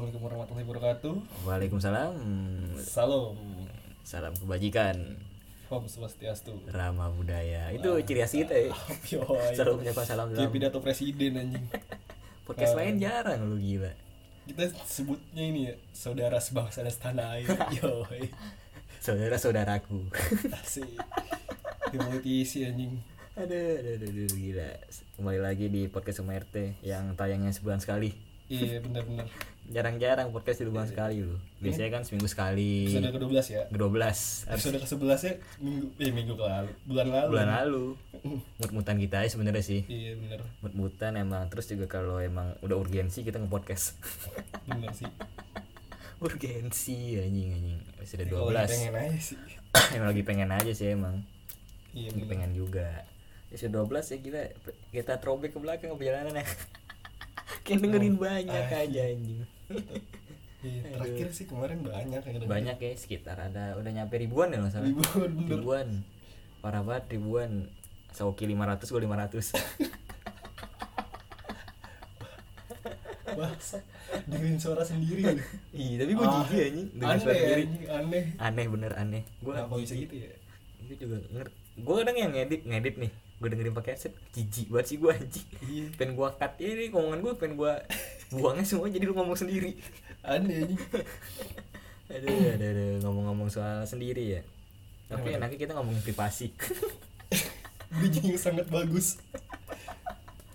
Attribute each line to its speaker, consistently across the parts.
Speaker 1: warahmatullahi wabarakatuh.
Speaker 2: Waalaikumsalam.
Speaker 1: Salam.
Speaker 2: Salam kebajikan.
Speaker 1: Om Swastiastu. Nah.
Speaker 2: Ramah budaya. Nah, Itu ciri khas kita
Speaker 1: Oh,
Speaker 2: ya.
Speaker 1: Yoi.
Speaker 2: Selalu menyapa salam
Speaker 1: Kayak
Speaker 2: dalam
Speaker 1: pidato presiden anjing. Oh.
Speaker 2: podcast lain jarang lu gila.
Speaker 1: Kita sebutnya ini ya, saudara sebangsa dan setanah air. Yoi.
Speaker 2: Saudara-saudaraku.
Speaker 1: Asik. Di mulut isi anjing.
Speaker 2: aduh, aduh, aduh, aduh, gila. Kembali lagi di podcast Rumah RT yang tayangnya sebulan sekali.
Speaker 1: Iya, benar-benar.
Speaker 2: Jarang-jarang podcast sebulan sekali lu. Biasanya kan seminggu sekali.
Speaker 1: Iya. Episode ke-12 ya.
Speaker 2: Ke-12.
Speaker 1: Episode ke-11 ya minggu eh minggu ke lalu, bulan lalu.
Speaker 2: Bulan lalu. Mut-mutan kita aja sebenarnya sih.
Speaker 1: Iya, benar.
Speaker 2: Mut-mutan emang terus juga kalau emang udah urgensi kita nge-podcast.
Speaker 1: Benar sih.
Speaker 2: urgensi anjing anjing. Sudah
Speaker 1: Kalau lagi
Speaker 2: 12.
Speaker 1: pengen aja sih.
Speaker 2: emang lagi pengen aja sih emang
Speaker 1: Iya,
Speaker 2: lagi
Speaker 1: benar.
Speaker 2: pengen juga episode 12 ya kita kita throwback ke belakang ke perjalanan ya kayak dengerin banyak
Speaker 1: ah,
Speaker 2: aja anjing
Speaker 1: Iya, terakhir sih kemarin banyak yang
Speaker 2: banyak ya sekitar ada udah nyampe ribuan ya nggak salah
Speaker 1: Ribuan, bener.
Speaker 2: ribuan parah banget ribuan Sauki 500 gue 500
Speaker 1: Bahasa dengerin suara sendiri.
Speaker 2: Ih tapi gue
Speaker 1: Ah,
Speaker 2: jijik ya, anjing Oh. dengan
Speaker 1: aneh,
Speaker 2: suara sendiri
Speaker 1: anjing, aneh.
Speaker 2: aneh bener aneh gue
Speaker 1: Kenapa bisa gitu ya?
Speaker 2: itu juga ngerti gue kadang yang ngedit ngedit nih gue dengerin pakai headset jijik banget sih gue anjing
Speaker 1: Iya.
Speaker 2: pengen gue cut ini ngomongan gue pengen gue buangnya semua jadi lu ngomong sendiri
Speaker 1: Aneh anjing.
Speaker 2: aduh aduh, aduh. ngomong-ngomong soal sendiri ya
Speaker 1: Kenapa
Speaker 2: tapi
Speaker 1: tuh?
Speaker 2: enaknya kita ngomongin privasi
Speaker 1: Biji yang sangat bagus.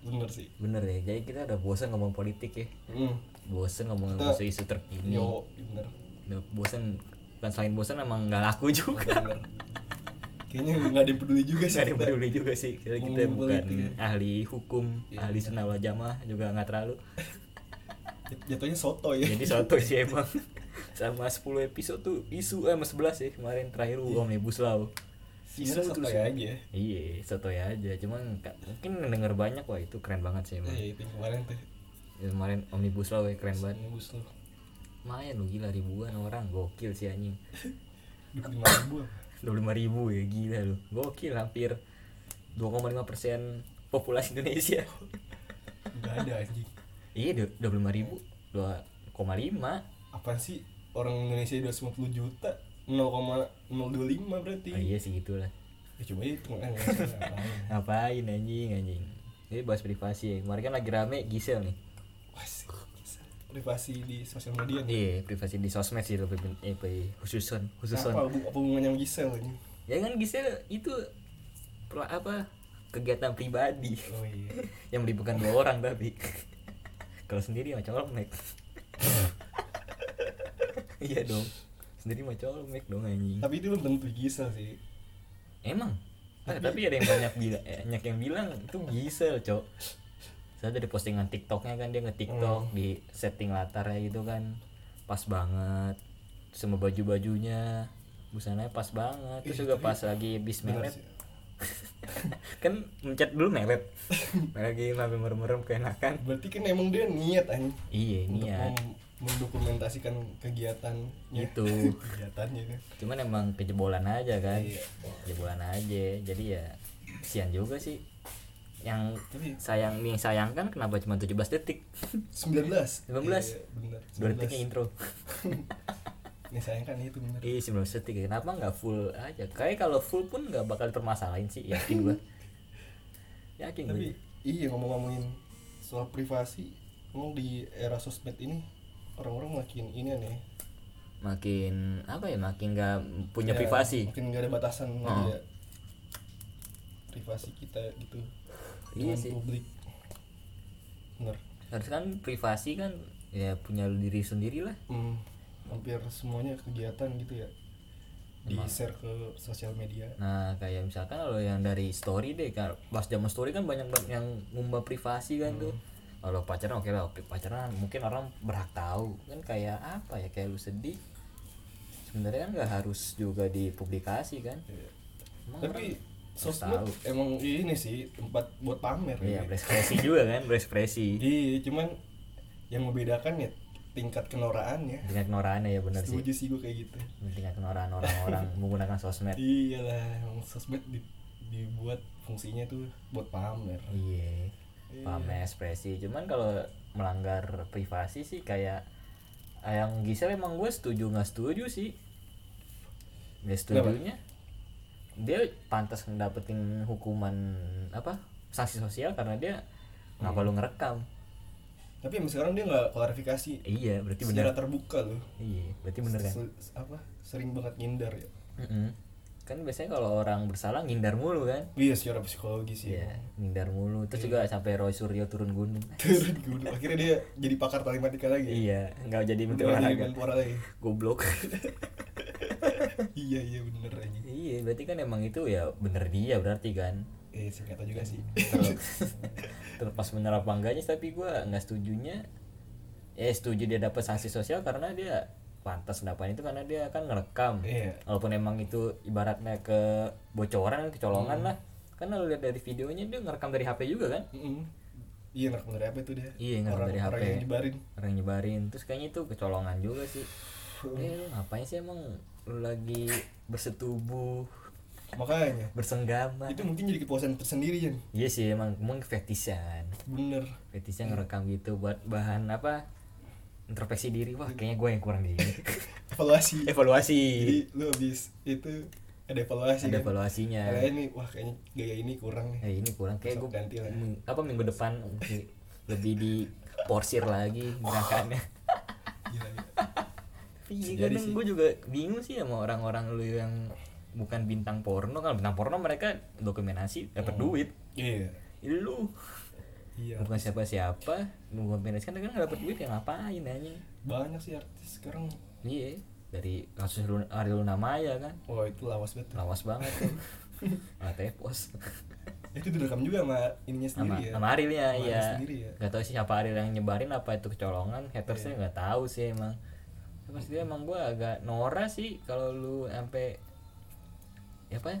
Speaker 1: Bener sih.
Speaker 2: bener ya jadi kita udah bosan ngomong politik ya
Speaker 1: Hmm.
Speaker 2: bosan ngomong
Speaker 1: Kita-
Speaker 2: isu-isu terkini
Speaker 1: Yo, bener.
Speaker 2: udah bosan kan selain bosan emang nggak laku juga
Speaker 1: Bener. Kayaknya nggak ada yang peduli juga sih.
Speaker 2: Gak ada yang
Speaker 1: kita.
Speaker 2: peduli juga sih Karena kita
Speaker 1: Ngomongin
Speaker 2: bukan
Speaker 1: politik ya.
Speaker 2: ahli hukum
Speaker 1: Iya,
Speaker 2: Ahli sunnah wal jamaah juga nggak terlalu
Speaker 1: Jat- Jatuhnya soto ya.
Speaker 2: Jadi soto sih emang sama 10 episode tuh isu eh, sama 11 ya kemarin terakhir lu omnibus law.
Speaker 1: Sebenarnya soto
Speaker 2: terus.
Speaker 1: ya aja.
Speaker 2: Iya, soto ya aja. Cuman ka- mungkin denger banyak wah itu keren banget sih emang.
Speaker 1: Eh, itu yang kemarin tuh.
Speaker 2: Ya, Kemarin omnibus law ya keren banget.
Speaker 1: Yang bus lo.
Speaker 2: Main lu gila ribuan orang gokil sih anjing.
Speaker 1: Dua puluh lima ribu apa?
Speaker 2: 25 ribu ya gila lu. Gokil hampir 2,5% populasi Indonesia.
Speaker 1: Nggak ada anjing.
Speaker 2: iya, 25 ribu. 2,5
Speaker 1: Apaan sih orang Indonesia 250 juta? 0,025 berarti.
Speaker 2: Ah, iya sih gitulah.
Speaker 1: Ya coba itu kan.
Speaker 2: Ngapain anjing anjing? Ini bahas privasi ya. Kemarin kan lagi rame Gisel nih.
Speaker 1: Wah, sih, kisah. privasi di sosial media nih.
Speaker 2: Iya, privasi di sosmed sih lebih ben- eh, lebih khususon,
Speaker 1: Apa,
Speaker 2: khususon.
Speaker 1: bu, apa hubungannya sama Gisel ini?
Speaker 2: Ya kan Gisel itu pla- apa kegiatan pribadi
Speaker 1: Oh iya.
Speaker 2: yang melibatkan dua orang tapi kalau sendiri mah colmek. iya dong. Sendiri mah colmek dong anjing.
Speaker 1: Tapi itu belum tentu Gisel sih.
Speaker 2: Emang. Nah, tapi ada yang banyak bilang banyak yang bilang itu Gisel, Cok. Saya dari postingan TikToknya kan dia
Speaker 1: Hmm.
Speaker 2: nge-TikTok di setting latarnya gitu kan. Pas banget. Terus Sama baju-bajunya, busananya pas banget. Terus
Speaker 1: Iya,
Speaker 2: juga
Speaker 1: tapi-
Speaker 2: pas lagi bis
Speaker 1: Bener
Speaker 2: meret.
Speaker 1: sih.
Speaker 2: kan mencet dulu meret. lagi sampai merem-merem keenakan.
Speaker 1: Berarti kan emang dia niat anjing
Speaker 2: Iya,
Speaker 1: untuk
Speaker 2: niat.
Speaker 1: mem- mendokumentasikan kegiatannya.
Speaker 2: Itu.
Speaker 1: kegiatannya kan.
Speaker 2: Cuman emang kejebolan aja kan.
Speaker 1: Iya.
Speaker 2: Kejebolan aja. Jadi ya kesian juga sih. Yang
Speaker 1: Tapi
Speaker 2: sayang nih sayangkan kenapa cuma 17 detik
Speaker 1: 19.
Speaker 2: 19.
Speaker 1: Iya, bener.
Speaker 2: 2 detiknya intro
Speaker 1: Ini sayang kan itu bener.
Speaker 2: iya 19 detik kenapa nggak full aja kayak kalau full pun nggak bakal permasalahin sih yakin gua yakin gua
Speaker 1: Tapi iya ngomong-ngomongin soal privasi, emang di era sosmed ini orang-orang makin ini aneh.
Speaker 2: makin apa ya makin nggak
Speaker 1: Ya,
Speaker 2: punya privasi
Speaker 1: Makin gak ada batasan
Speaker 2: Oh.
Speaker 1: ya. privasi kita gitu.
Speaker 2: Iya
Speaker 1: dengan
Speaker 2: sih.
Speaker 1: publik. Bener.
Speaker 2: harus kan privasi kan ya punya diri sendiri lah
Speaker 1: Hmm, hampir semuanya kegiatan gitu ya. Di share ke sosial media.
Speaker 2: nah kayak misalkan kalau yang dari story deh kan pas zaman story kan banyak banget yang ngumbar privasi kan tuh kalau pacaran oke lah oke, pacaran mungkin orang berhak tahu kan kayak apa ya kayak lu sedih sebenarnya kan nggak harus juga dipublikasi kan
Speaker 1: Iya.
Speaker 2: Emang
Speaker 1: Tapi sosmed
Speaker 2: tahu.
Speaker 1: emang ini sih tempat buat pamer ya.
Speaker 2: iya berekspresi juga kan berekspresi
Speaker 1: Iya, cuman yang membedakan ya tingkat kenoraannya.
Speaker 2: tingkat kenoraannya ya benar sih
Speaker 1: Setuju sih gue kayak gitu.
Speaker 2: tingkat kenoraan orang-orang menggunakan sosmed
Speaker 1: Iyalah, emang sosmed di- dibuat fungsinya tuh buat pamer.
Speaker 2: Iya.
Speaker 1: Iya.
Speaker 2: Pamer ekspresi. Cuman kalau melanggar privasi sih kayak Ah, yang Gisel emang gue setuju nggak setuju sih nggak setujunya dia pantas ngedapetin hukuman apa sanksi sosial karena dia nggak perlu ngerekam
Speaker 1: tapi emang sekarang dia nggak klarifikasi
Speaker 2: iya berarti bener
Speaker 1: secara terbuka loh
Speaker 2: iya berarti bener kan
Speaker 1: Se- se- apa sering banget ngindar ya
Speaker 2: Mm-mm. kan biasanya kalau orang bersalah ngindar mulu kan
Speaker 1: iya secara psikologis ya
Speaker 2: Iya, ngindar mulu. Terus juga sampai Roy Suryo turun gunung.
Speaker 1: turun gunung akhirnya dia jadi pakar tali matika lagi
Speaker 2: iya, nggak jadi
Speaker 1: Udah
Speaker 2: menteri
Speaker 1: jadi
Speaker 2: olahraga.
Speaker 1: menpora lagi
Speaker 2: Goblok.
Speaker 1: iya iya bener aja
Speaker 2: iya, berarti kan emang itu ya bener dia berarti kan.
Speaker 1: eh sih kata juga sih
Speaker 2: Terus- Terlepas bener apa enggaknya tapi gua nggak setujunya. Ya setuju dia dapat sanksi sosial karena dia pantas dapat itu karena dia kan ngerekam.
Speaker 1: Iya.
Speaker 2: Walaupun emang itu ibaratnya ke bocoran,
Speaker 1: Hmm.
Speaker 2: kecolongan lah. Karena lu lihat dari videonya dia ngerekam dari HP juga kan.
Speaker 1: Mm-mm. iya ngerekam dari apa tuh dia
Speaker 2: Iya, ngerekam
Speaker 1: orang,
Speaker 2: dari
Speaker 1: orang
Speaker 2: HP.
Speaker 1: yang nyebarin
Speaker 2: orang nyebarin terus kayaknya itu kecolongan juga sih
Speaker 1: Hmm.
Speaker 2: eh lu ngapain sih emang lu lagi bersetubuh
Speaker 1: makanya
Speaker 2: bersenggama
Speaker 1: itu mungkin jadi kepuasan tersendiri Jan
Speaker 2: iya sih emang emang fetisan
Speaker 1: bener
Speaker 2: fetisan ngerekam gitu buat bahan apa introspeksi diri wah kayaknya gue yang kurang di sini.
Speaker 1: evaluasi
Speaker 2: evaluasi
Speaker 1: jadi lu habis itu ada evaluasi
Speaker 2: ada
Speaker 1: kan?
Speaker 2: evaluasinya
Speaker 1: Kayak ini wah kayaknya gaya ini kurang nih
Speaker 2: eh ini kurang kayak
Speaker 1: Besok
Speaker 2: gue
Speaker 1: ganti lah.
Speaker 2: apa minggu depan lebih di porsir lagi gerakannya
Speaker 1: gila, gila.
Speaker 2: Iya
Speaker 1: Jadi
Speaker 2: kadang
Speaker 1: sih.
Speaker 2: gue juga bingung sih sama orang-orang lu yang bukan bintang porno kan bintang porno mereka dokumentasi dapat
Speaker 1: Hmm.
Speaker 2: duit
Speaker 1: iya
Speaker 2: Ini lu
Speaker 1: iya
Speaker 2: bukan siapa-siapa lu dokumentasi kan kan nggak dapat duit ya ngapain aja
Speaker 1: banyak sih artis sekarang
Speaker 2: iya dari kasus lu Ariel Namaya kan
Speaker 1: wah itu lawas banget tuh.
Speaker 2: lawas banget tuh nggak tepos
Speaker 1: itu direkam juga sama ininya sendiri
Speaker 2: sama
Speaker 1: ya
Speaker 2: sama Arilnya
Speaker 1: Sama Ariel
Speaker 2: ya
Speaker 1: sendiri ya. Iya.
Speaker 2: nggak tahu sih siapa Aril yang nyebarin apa itu kecolongan hatersnya nggak tahu sih emang Ya, pasti emang gue agak Nora sih kalau lu sampai ya apa ya,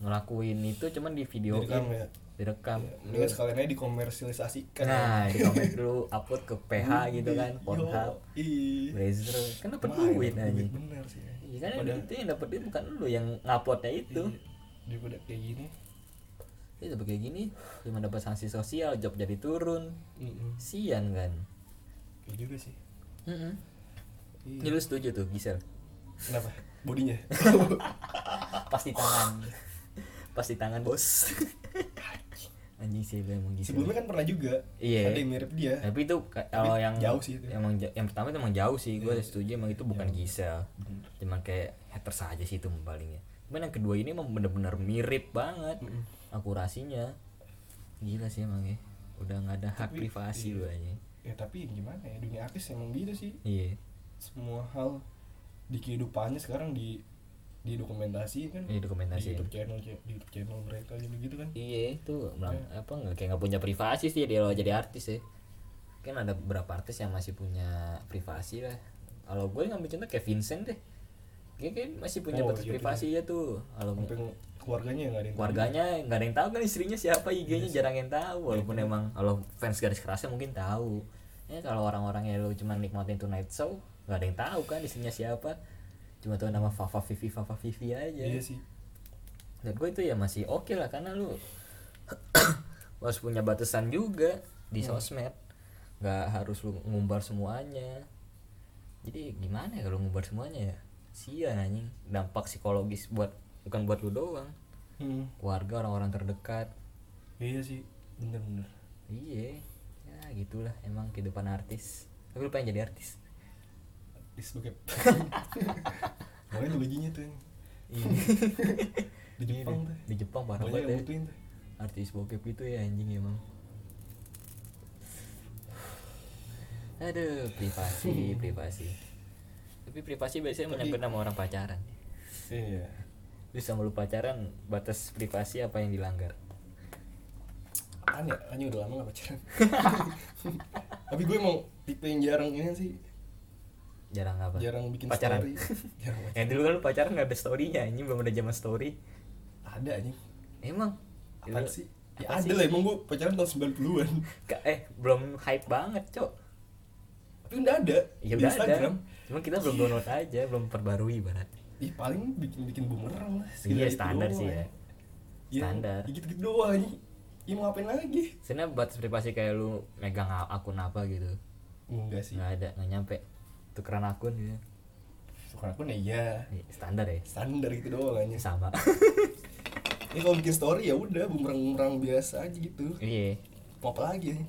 Speaker 2: ngelakuin itu cuman di video
Speaker 1: Direkam ya.
Speaker 2: direkam
Speaker 1: Ya, mendingan sekalian aja dikomersialisasikan Iya.
Speaker 2: nah di komen lu upload ke PH gitu kan
Speaker 1: Yo,
Speaker 2: Pornhub
Speaker 1: ih.
Speaker 2: Brazzer kan dapet
Speaker 1: Mah,
Speaker 2: duit
Speaker 1: dapet
Speaker 2: aja
Speaker 1: duit bener sih
Speaker 2: Iya kan
Speaker 1: Padahal-
Speaker 2: itu yang dapet duit bukan lu yang nguploadnya itu
Speaker 1: Iya, daripada kayak gini
Speaker 2: Jadi tapi Iya, kayak gini cuma dapat sanksi sosial job jadi turun
Speaker 1: Mm-mm.
Speaker 2: sian kan
Speaker 1: Iya juga sih
Speaker 2: Mm-mm.
Speaker 1: Iya.
Speaker 2: Ini lu setuju tuh Gisel
Speaker 1: Kenapa? Bodinya?
Speaker 2: Gitu. pas di tangan pas di tangan bos anjing sih lu emang Gisel
Speaker 1: Sebelumnya kan pernah juga
Speaker 2: Iya.
Speaker 1: Ada yang mirip dia
Speaker 2: tapi itu ka- kalau yang
Speaker 1: jauh sih itu. Iya.
Speaker 2: emang ja- yang pertama itu emang jauh sih gue setuju emang itu bukan Gisel cuma kayak haters aja sih itu palingnya cuman yang kedua ini emang bener-bener mirip banget akurasinya gila sih emang ya udah nggak ada hak
Speaker 1: Tapi-
Speaker 2: privasi
Speaker 1: iya.
Speaker 2: lu aja
Speaker 1: Ya tapi gimana ya Dunia artis emang gitu sih
Speaker 2: iya
Speaker 1: Semua hal Di kehidupannya sekarang di Di dokumentasi kan
Speaker 2: Iya,
Speaker 1: Di
Speaker 2: didokumentasiin.
Speaker 1: Youtube channel Di Youtube channel mereka gitu-gitu kan
Speaker 2: Iya itu melang, apa nggak kayak nggak punya privasi sih dia kalau jadi artis ya. Kan ada beberapa artis yang masih punya privasi lah. Kalau gue ngambil contoh kayak Vincent deh. Dia kan masih punya
Speaker 1: Oh,
Speaker 2: batas
Speaker 1: iya,
Speaker 2: privasi ya tuh. Kalau
Speaker 1: Sampai keluarganya nggak ada yang
Speaker 2: keluarganya nggak ada yang tahu kan istrinya siapa
Speaker 1: Iya
Speaker 2: IG-nya jarang yang tahu walaupun emang kalau fans garis kerasnya mungkin tahu. Ya kalau orang-orang yang lu cuma nikmatin tonight show nggak ada yang tahu kan istrinya siapa. Cuma tahu nama Fafa Vivi Fafa Vivi aja
Speaker 1: Iya sih
Speaker 2: menurut gue itu ya masih oke lah karena lu harus punya batasan juga di sosmed nggak harus lu ngumbar semuanya jadi gimana ya kalau ngumbar semuanya ya sia anjing dampak psikologis buat bukan buat lu doang
Speaker 1: Hmm.
Speaker 2: keluarga orang-orang terdekat
Speaker 1: Iya sih Bener-bener
Speaker 2: iya ya gitulah emang kehidupan artis tapi lu pengen jadi artis
Speaker 1: Artis bokep Makanya bajunya tuh yang Di Jepang tuh
Speaker 2: Iya, di Jepang parah
Speaker 1: Banyak yang
Speaker 2: banget ya
Speaker 1: butuhin tuh
Speaker 2: artis bokep gitu ya anjing emang aduh privasi privasi tapi privasi biasanya menyangkut sama orang pacaran
Speaker 1: Iya
Speaker 2: lu sama lu pacaran batas privasi apa yang dilanggar
Speaker 1: Apaan ya? Anjing udah lama gak pacaran Tapi gue emang tipe yang jarang ini sih
Speaker 2: jarang apa
Speaker 1: Jarang bikin
Speaker 2: pacaran
Speaker 1: story Jarang pacaran
Speaker 2: yang dulu kan lu pacaran nggak ada storynya ini belum ada zaman story
Speaker 1: Ada anjing
Speaker 2: emang
Speaker 1: Apaan
Speaker 2: Dulu-
Speaker 1: sih? Ya
Speaker 2: apa
Speaker 1: ada lah emang gue pacaran tahun 90-an
Speaker 2: Ka- eh belum hype banget cok
Speaker 1: Tapi udah ada di
Speaker 2: ya udah ada
Speaker 1: Instagram
Speaker 2: cuma kita belum download aja belum perbarui barat
Speaker 1: Ih paling bikin-bikin bumerang lah
Speaker 2: iya
Speaker 1: sekedar itu
Speaker 2: standar
Speaker 1: doang,
Speaker 2: sih ya
Speaker 1: anjing. Iya,
Speaker 2: Standar.
Speaker 1: ya Gitu-gitu doang anjing Ya mau ngapain lagi?
Speaker 2: Sebenarnya batas privasi kayak lu megang a- akun apa gitu.
Speaker 1: Enggak sih
Speaker 2: nggak ada, nggak nyampe. tukeran akun ya
Speaker 1: Suka akun ya iya
Speaker 2: Iya, standar ya
Speaker 1: standar gitu doang aja
Speaker 2: sama
Speaker 1: ini kalau bikin story ya udah bumerang-bumerang biasa aja gitu
Speaker 2: iya
Speaker 1: mau apa lagi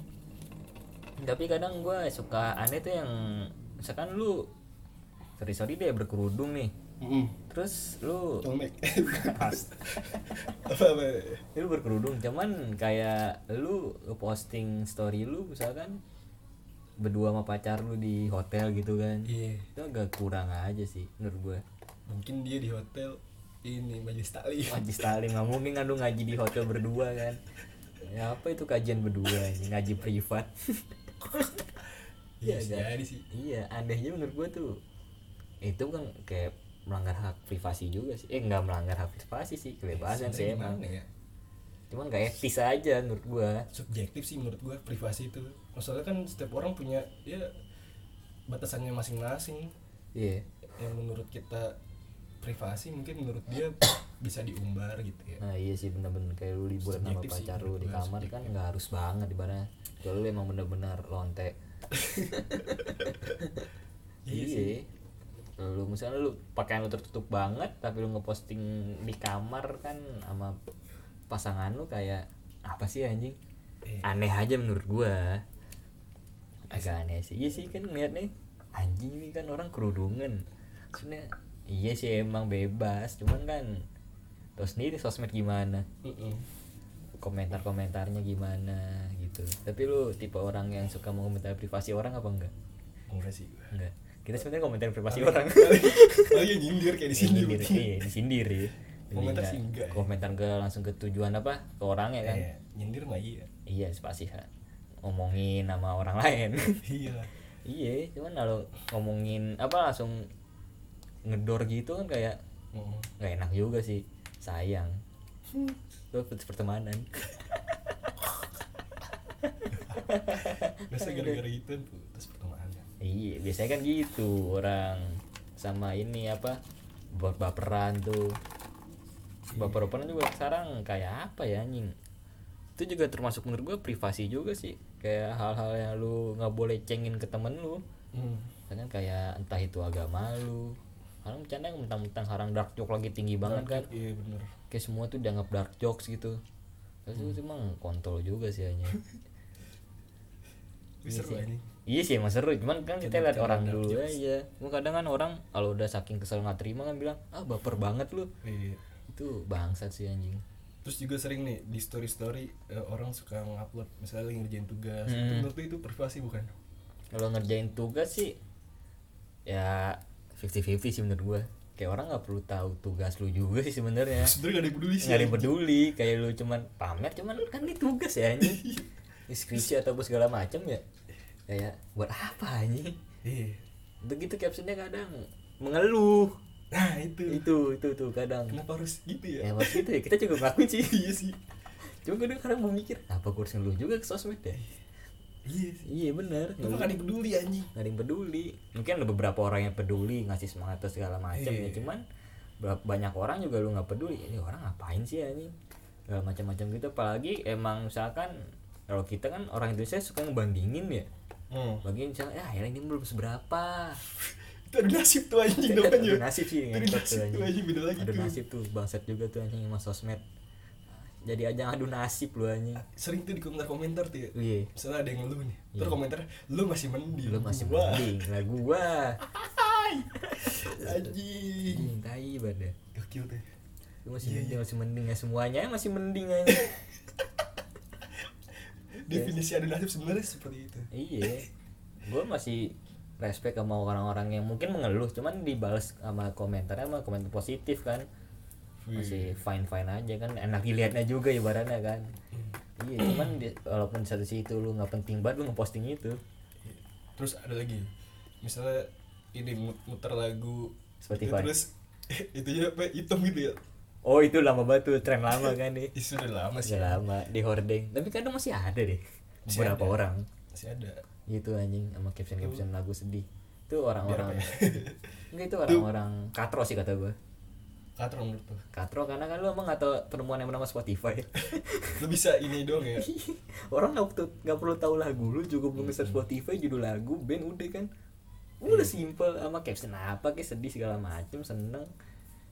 Speaker 2: tapi kadang gue suka aneh tuh yang misalkan lu sorry sorry deh berkerudung nih
Speaker 1: Mm.
Speaker 2: terus lu
Speaker 1: Tomek. apa apa?
Speaker 2: ya lu berkerudung cuman kayak lu posting story lu misalkan berdua sama pacar lu di hotel gitu kan
Speaker 1: Iya.
Speaker 2: itu agak kurang aja sih menurut gue
Speaker 1: Mungkin dia di hotel ini majelis taklim.
Speaker 2: wajib sekali nggak mungkin kan lu ngaji di hotel berdua kan ya apa itu kajian berdua ini ngaji privat
Speaker 1: Iya,
Speaker 2: Iya,
Speaker 1: bisa
Speaker 2: kan?
Speaker 1: jadi sih.
Speaker 2: iya anehnya menurut gue tuh itu kan kayak melanggar hak privasi juga sih eh nggak melanggar hak privasi sih kebebasan
Speaker 1: Sebenarnya
Speaker 2: sih
Speaker 1: gimana
Speaker 2: emang
Speaker 1: ya?
Speaker 2: cuman nggak etis aja menurut gue
Speaker 1: Subjektif sih menurut gua privasi itu. Masalahnya kan setiap orang punya ya batasannya masing-masing.
Speaker 2: iya
Speaker 1: Yang menurut kita privasi mungkin menurut dia bisa diumbar gitu ya.
Speaker 2: Nah iya sih bener-bener kayak lu liburan sama
Speaker 1: Subjektif sih,
Speaker 2: pacar lu di
Speaker 1: bener-bener
Speaker 2: kamar kan nggak harus banget ibaratnya kalau lu emang bener-bener lonte
Speaker 1: Iya
Speaker 2: iya lu misalnya lu pakaian lu tertutup banget tapi lu ngeposting di kamar kan sama pasangan lu kayak apa sih anjing
Speaker 1: Iya.
Speaker 2: aneh aja menurut gua agak aneh sih iya sih kan ngeliat nih anjing ini kan orang kerudungan maksudnya iya sih emang bebas cuman kan terus sendiri sosmed gimana
Speaker 1: Mm-mm.
Speaker 2: komentar-komentarnya gimana gitu tapi lu tipe orang yang suka mengomentari privasi orang apa enggak
Speaker 1: Enggak sih gua.
Speaker 2: enggak kita sebenarnya komentar privasi orang
Speaker 1: Oh iya nyindir kayak di sini.
Speaker 2: Disindir, iya disindir ya. Jadi
Speaker 1: Komentar
Speaker 2: enggak-
Speaker 1: sih enggak ya.
Speaker 2: komentar ke langsung ke tujuan apa ke orangnya kan
Speaker 1: Eh, nyindir mah iya.
Speaker 2: iya pasti kan ngomongin sama orang lain
Speaker 1: Iya lah.
Speaker 2: iya cuman kalau ngomongin apa langsung ngedor gitu kan kayak
Speaker 1: Mm.
Speaker 2: nggak enak juga sih sayang
Speaker 1: Hmm.
Speaker 2: itu pertemanan
Speaker 1: Biasa gara-gara gitu terus pertemanan.
Speaker 2: Iya, biasanya kan gitu orang sama ini apa buat baperan tuh. Baper baperan juga sekarang kayak apa ya anjing? Itu juga termasuk menurut gue privasi juga sih. Kayak hal-hal yang lu nggak boleh cengin ke temen lu.
Speaker 1: Hmm.
Speaker 2: Kan kayak entah itu agama lu. Orang bercanda yang mentang-mentang harang dark joke lagi tinggi banget kan.
Speaker 1: Iya bener.
Speaker 2: Kayak semua tuh dianggap dark jokes gitu. Terus itu emang kontol juga sih anjing.
Speaker 1: Wih, seru ini.
Speaker 2: Iya sih emang seru, cuman kan kita lihat orang dulu aja. Cuma kadang kan orang kalau udah saking kesel nggak terima kan bilang, ah baper banget lu.
Speaker 1: Iya.
Speaker 2: Itu bangsat sih anjing.
Speaker 1: Terus juga sering nih di story story orang suka ngupload misalnya lagi ngerjain tugas. Itu
Speaker 2: Hmm.
Speaker 1: Menurut lu itu privasi bukan?
Speaker 2: Kalau ngerjain tugas sih, ya 50-50 sih menurut gua. Kayak orang nggak perlu tahu tugas lu juga sih sebenarnya.
Speaker 1: Sebenernya gak ada yang peduli sih.
Speaker 2: Nggak ada yang peduli, kayak lu cuman pamer, cuman kan ini tugas ya anjing. Deskripsi atau apa segala macam ya. Kayak buat apa anjing?
Speaker 1: Iya.
Speaker 2: Begitu captionnya kadang mengeluh.
Speaker 1: Nah itu.
Speaker 2: Itu itu tuh kadang.
Speaker 1: Kenapa harus gitu ya?
Speaker 2: ya waktu itu ya kita juga ngakuin sih
Speaker 1: iya sih.
Speaker 2: cuma kadang kadang mau mikir apa gue harus ngeluh juga ke sosmed ya
Speaker 1: Iya sih.
Speaker 2: iya bener
Speaker 1: Itu gak ada yang peduli anjing.
Speaker 2: nggak ada yang peduli mungkin ada beberapa orang yang peduli ngasih semangat atau segala macam
Speaker 1: Iya.
Speaker 2: ya cuman ber- banyak orang juga lu nggak peduli ini orang ngapain sih ya ini segala macam-macam gitu apalagi emang misalkan kalau kita kan orang Indonesia suka ngebandingin ya
Speaker 1: Hmm.
Speaker 2: bagian misalnya ya akhirnya ini belum seberapa
Speaker 1: Itu ada nasib tuh anjing
Speaker 2: ada
Speaker 1: namanya.
Speaker 2: nasib sih
Speaker 1: Ada
Speaker 2: ngentot
Speaker 1: nasib tuh anjing beda lagi
Speaker 2: ada
Speaker 1: tuh.
Speaker 2: nasib tuh bangsat juga tuh anjing sama sosmed jadi ajang adu nasib lu anjing
Speaker 1: Sering tuh di komentar-komentar tuh ya.
Speaker 2: Iya.
Speaker 1: Misalnya ada yang ngeluh nih. Terus komentar lu masih mending.
Speaker 2: Lu masih
Speaker 1: Wah,
Speaker 2: mending lah gua.
Speaker 1: Iya. Anjing.
Speaker 2: Anjing tai badan.
Speaker 1: Gokil tuh.
Speaker 2: Lu masih
Speaker 1: Iya,
Speaker 2: mending, masih mending ya semuanya masih mending aja.
Speaker 1: Definisi ada nasib sebenarnya seperti itu.
Speaker 2: iya. Gua masih respect sama orang-orang yang mungkin mengeluh cuman dibales sama komentarnya sama komentar positif kan
Speaker 1: Iya.
Speaker 2: masih fine fine aja kan enak dilihatnya juga ibaratnya kan iya cuman di, walaupun di satu sisi itu lu nggak penting banget lu ngeposting itu
Speaker 1: terus ada lagi misalnya ini mut- muter lagu
Speaker 2: Spotify.
Speaker 1: itu terus itu ya apa hitam gitu ya
Speaker 2: oh itu lama banget tuh tren lama kan nih
Speaker 1: itu udah lama sih
Speaker 2: udah lama di hordeng tapi kadang masih ada deh
Speaker 1: Masih
Speaker 2: beberapa
Speaker 1: ada.
Speaker 2: orang
Speaker 1: masih ada
Speaker 2: gitu anjing sama caption caption lagu sedih itu orang-orang
Speaker 1: ya?
Speaker 2: enggak itu orang-orang katro sih kata gue
Speaker 1: katro menurut tuh
Speaker 2: katro karena kan lu emang nggak tahu penemuan yang bernama Spotify
Speaker 1: lu bisa ini doang ya
Speaker 2: orang nggak perlu nggak perlu tahu lagu lu juga belum nge Spotify judul lagu band udah kan
Speaker 1: Iya.
Speaker 2: udah simple sama caption apa kayak sedih segala macem seneng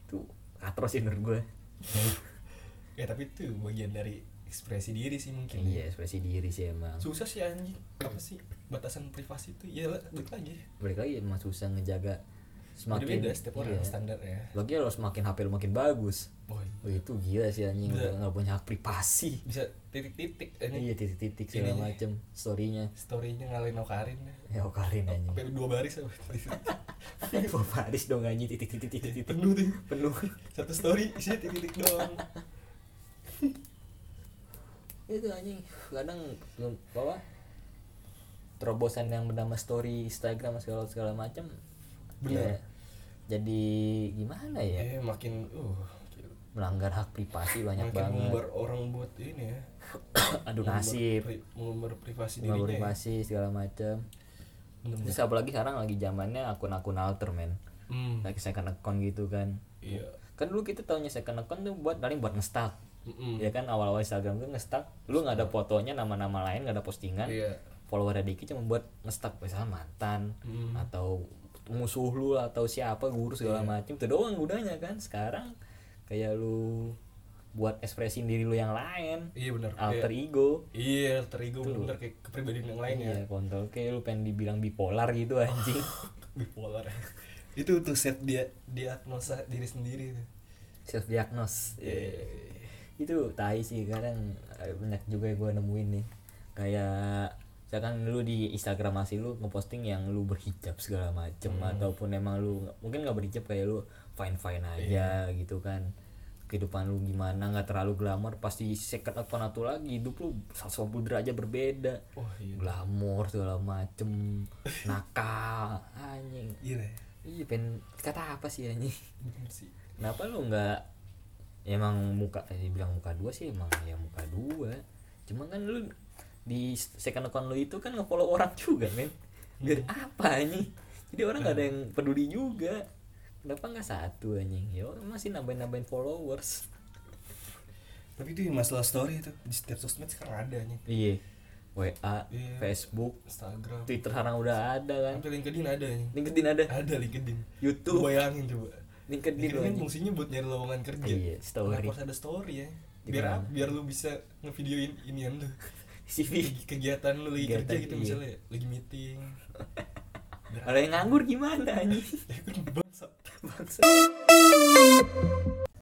Speaker 2: tuh atrosin menurut gue
Speaker 1: ya tapi itu bagian dari ekspresi diri sih mungkin
Speaker 2: iya ekspresi diri sih emang
Speaker 1: susah sih anjing apa sih batasan privasi itu ya lah, balik lagi
Speaker 2: balik lagi emang susah ngejaga
Speaker 1: beda
Speaker 2: semakin
Speaker 1: beda setiap orang
Speaker 2: iya.
Speaker 1: standar ya
Speaker 2: Lagi harus makin HP lu makin bagus.
Speaker 1: boy
Speaker 2: Wah, itu gila sih anjing
Speaker 1: Bisa.
Speaker 2: nggak nggak punya hak privasi.
Speaker 1: bisa titik-titik ini
Speaker 2: Iya titik-titik segala
Speaker 1: Ininya.
Speaker 2: macem storynya.
Speaker 1: storynya ngalahin Okarin
Speaker 2: Ya Okarin anjing.
Speaker 1: sampai dua baris ya, apa
Speaker 2: Wah Paris dong anjing titik-titik titik-titik
Speaker 1: penuh tuh
Speaker 2: penuh.
Speaker 1: satu story isinya titik-titik doang
Speaker 2: itu anjing kadang belum- apa terobosan yang bernama story Instagram segala segala macam
Speaker 1: Bener.
Speaker 2: jadi gimana ya
Speaker 1: eh makin uh
Speaker 2: melanggar hak privasi banyak
Speaker 1: makin
Speaker 2: banget
Speaker 1: mengumbar orang buat ini ya
Speaker 2: aduh
Speaker 1: mengumbar
Speaker 2: nasib
Speaker 1: pri- mengumbar privasi
Speaker 2: nggak
Speaker 1: dirinya ya.
Speaker 2: privasi segala macam
Speaker 1: Bener-bener.
Speaker 2: terus apalagi sekarang lagi zamannya akun-akun alter men
Speaker 1: Hmm,
Speaker 2: kayak second account gitu kan
Speaker 1: iya
Speaker 2: kan dulu kita taunya second account tuh buat paling buat ngestak
Speaker 1: Mm-mm.
Speaker 2: ya kan awal-awal Instagram tuh ngestak lu nggak ada fotonya nama-nama lain nggak ada postingan
Speaker 1: iya
Speaker 2: followernya dikit cuma buat ngestak misalnya mantan
Speaker 1: Hmm. Iya.
Speaker 2: atau musuh lu atau siapa guru segala macem itu doang gunanya kan sekarang kayak lu buat ekspresiin diri lu yang lain
Speaker 1: iya benar
Speaker 2: alter ego
Speaker 1: iya alter ego bener kayak kepribadian yang lain ya
Speaker 2: iya kontol kayak lu pengen dibilang bipolar gitu anjing
Speaker 1: bipolar ya. itu tuh set dia diagnosa diri sendiri tuh
Speaker 2: self diagnos itu tai sih kadang eh, banyak juga yang gue nemuin nih kayak misalkan lu di Instagram masih lu ngeposting yang lu berhijab segala macem
Speaker 1: Hmm.
Speaker 2: ataupun emang lu nggak- mungkin nggak berhijab kayak lu fine fine aja
Speaker 1: Iya.
Speaker 2: gitu kan kehidupan lu gimana nggak terlalu glamor pasti second account satu lagi hidup lu 180 derajat berbeda
Speaker 1: wah iya
Speaker 2: glamor segala macem nakal anjing
Speaker 1: iya deh.
Speaker 2: iya pengen kata apa sih anjing
Speaker 1: Bener sih
Speaker 2: Kenapa lu nggak emang muka tadi bilang muka dua sih emang ya muka dua. Cuma kan lu di second account lu itu kan nge-follow orang juga, men. Biar
Speaker 1: Iya.
Speaker 2: apa anjing? Jadi orang nggak ada yang peduli juga. Kenapa nggak satu anjing? Ya orang masih nambahin-nambahin followers.
Speaker 1: tapi itu masalah story itu di setiap sosmed sekarang ada nih
Speaker 2: Iya. WA,
Speaker 1: Iya.
Speaker 2: Facebook,
Speaker 1: Instagram
Speaker 2: Twitter sekarang udah ada kan.
Speaker 1: sampai LinkedIn ada nih
Speaker 2: LinkedIn ada,
Speaker 1: ada LinkedIn Lu
Speaker 2: YouTube.
Speaker 1: bayangin coba
Speaker 2: LinkedIn
Speaker 1: LinkedIn kan
Speaker 2: anjing.
Speaker 1: fungsinya buat nyari lowongan kerja
Speaker 2: Iya, story.
Speaker 1: Kenapa harus ada story ya biar
Speaker 2: Gimana?
Speaker 1: apa? biar lu bisa ngevideoin inian lu
Speaker 2: CV.
Speaker 1: kegiatan lu lagi
Speaker 2: Kegiatan,
Speaker 1: kerja gitu
Speaker 2: iya.
Speaker 1: misalnya lagi meeting
Speaker 2: Orang yang nganggur gimana anjing?
Speaker 1: ya kan bangsat
Speaker 2: Bangsa.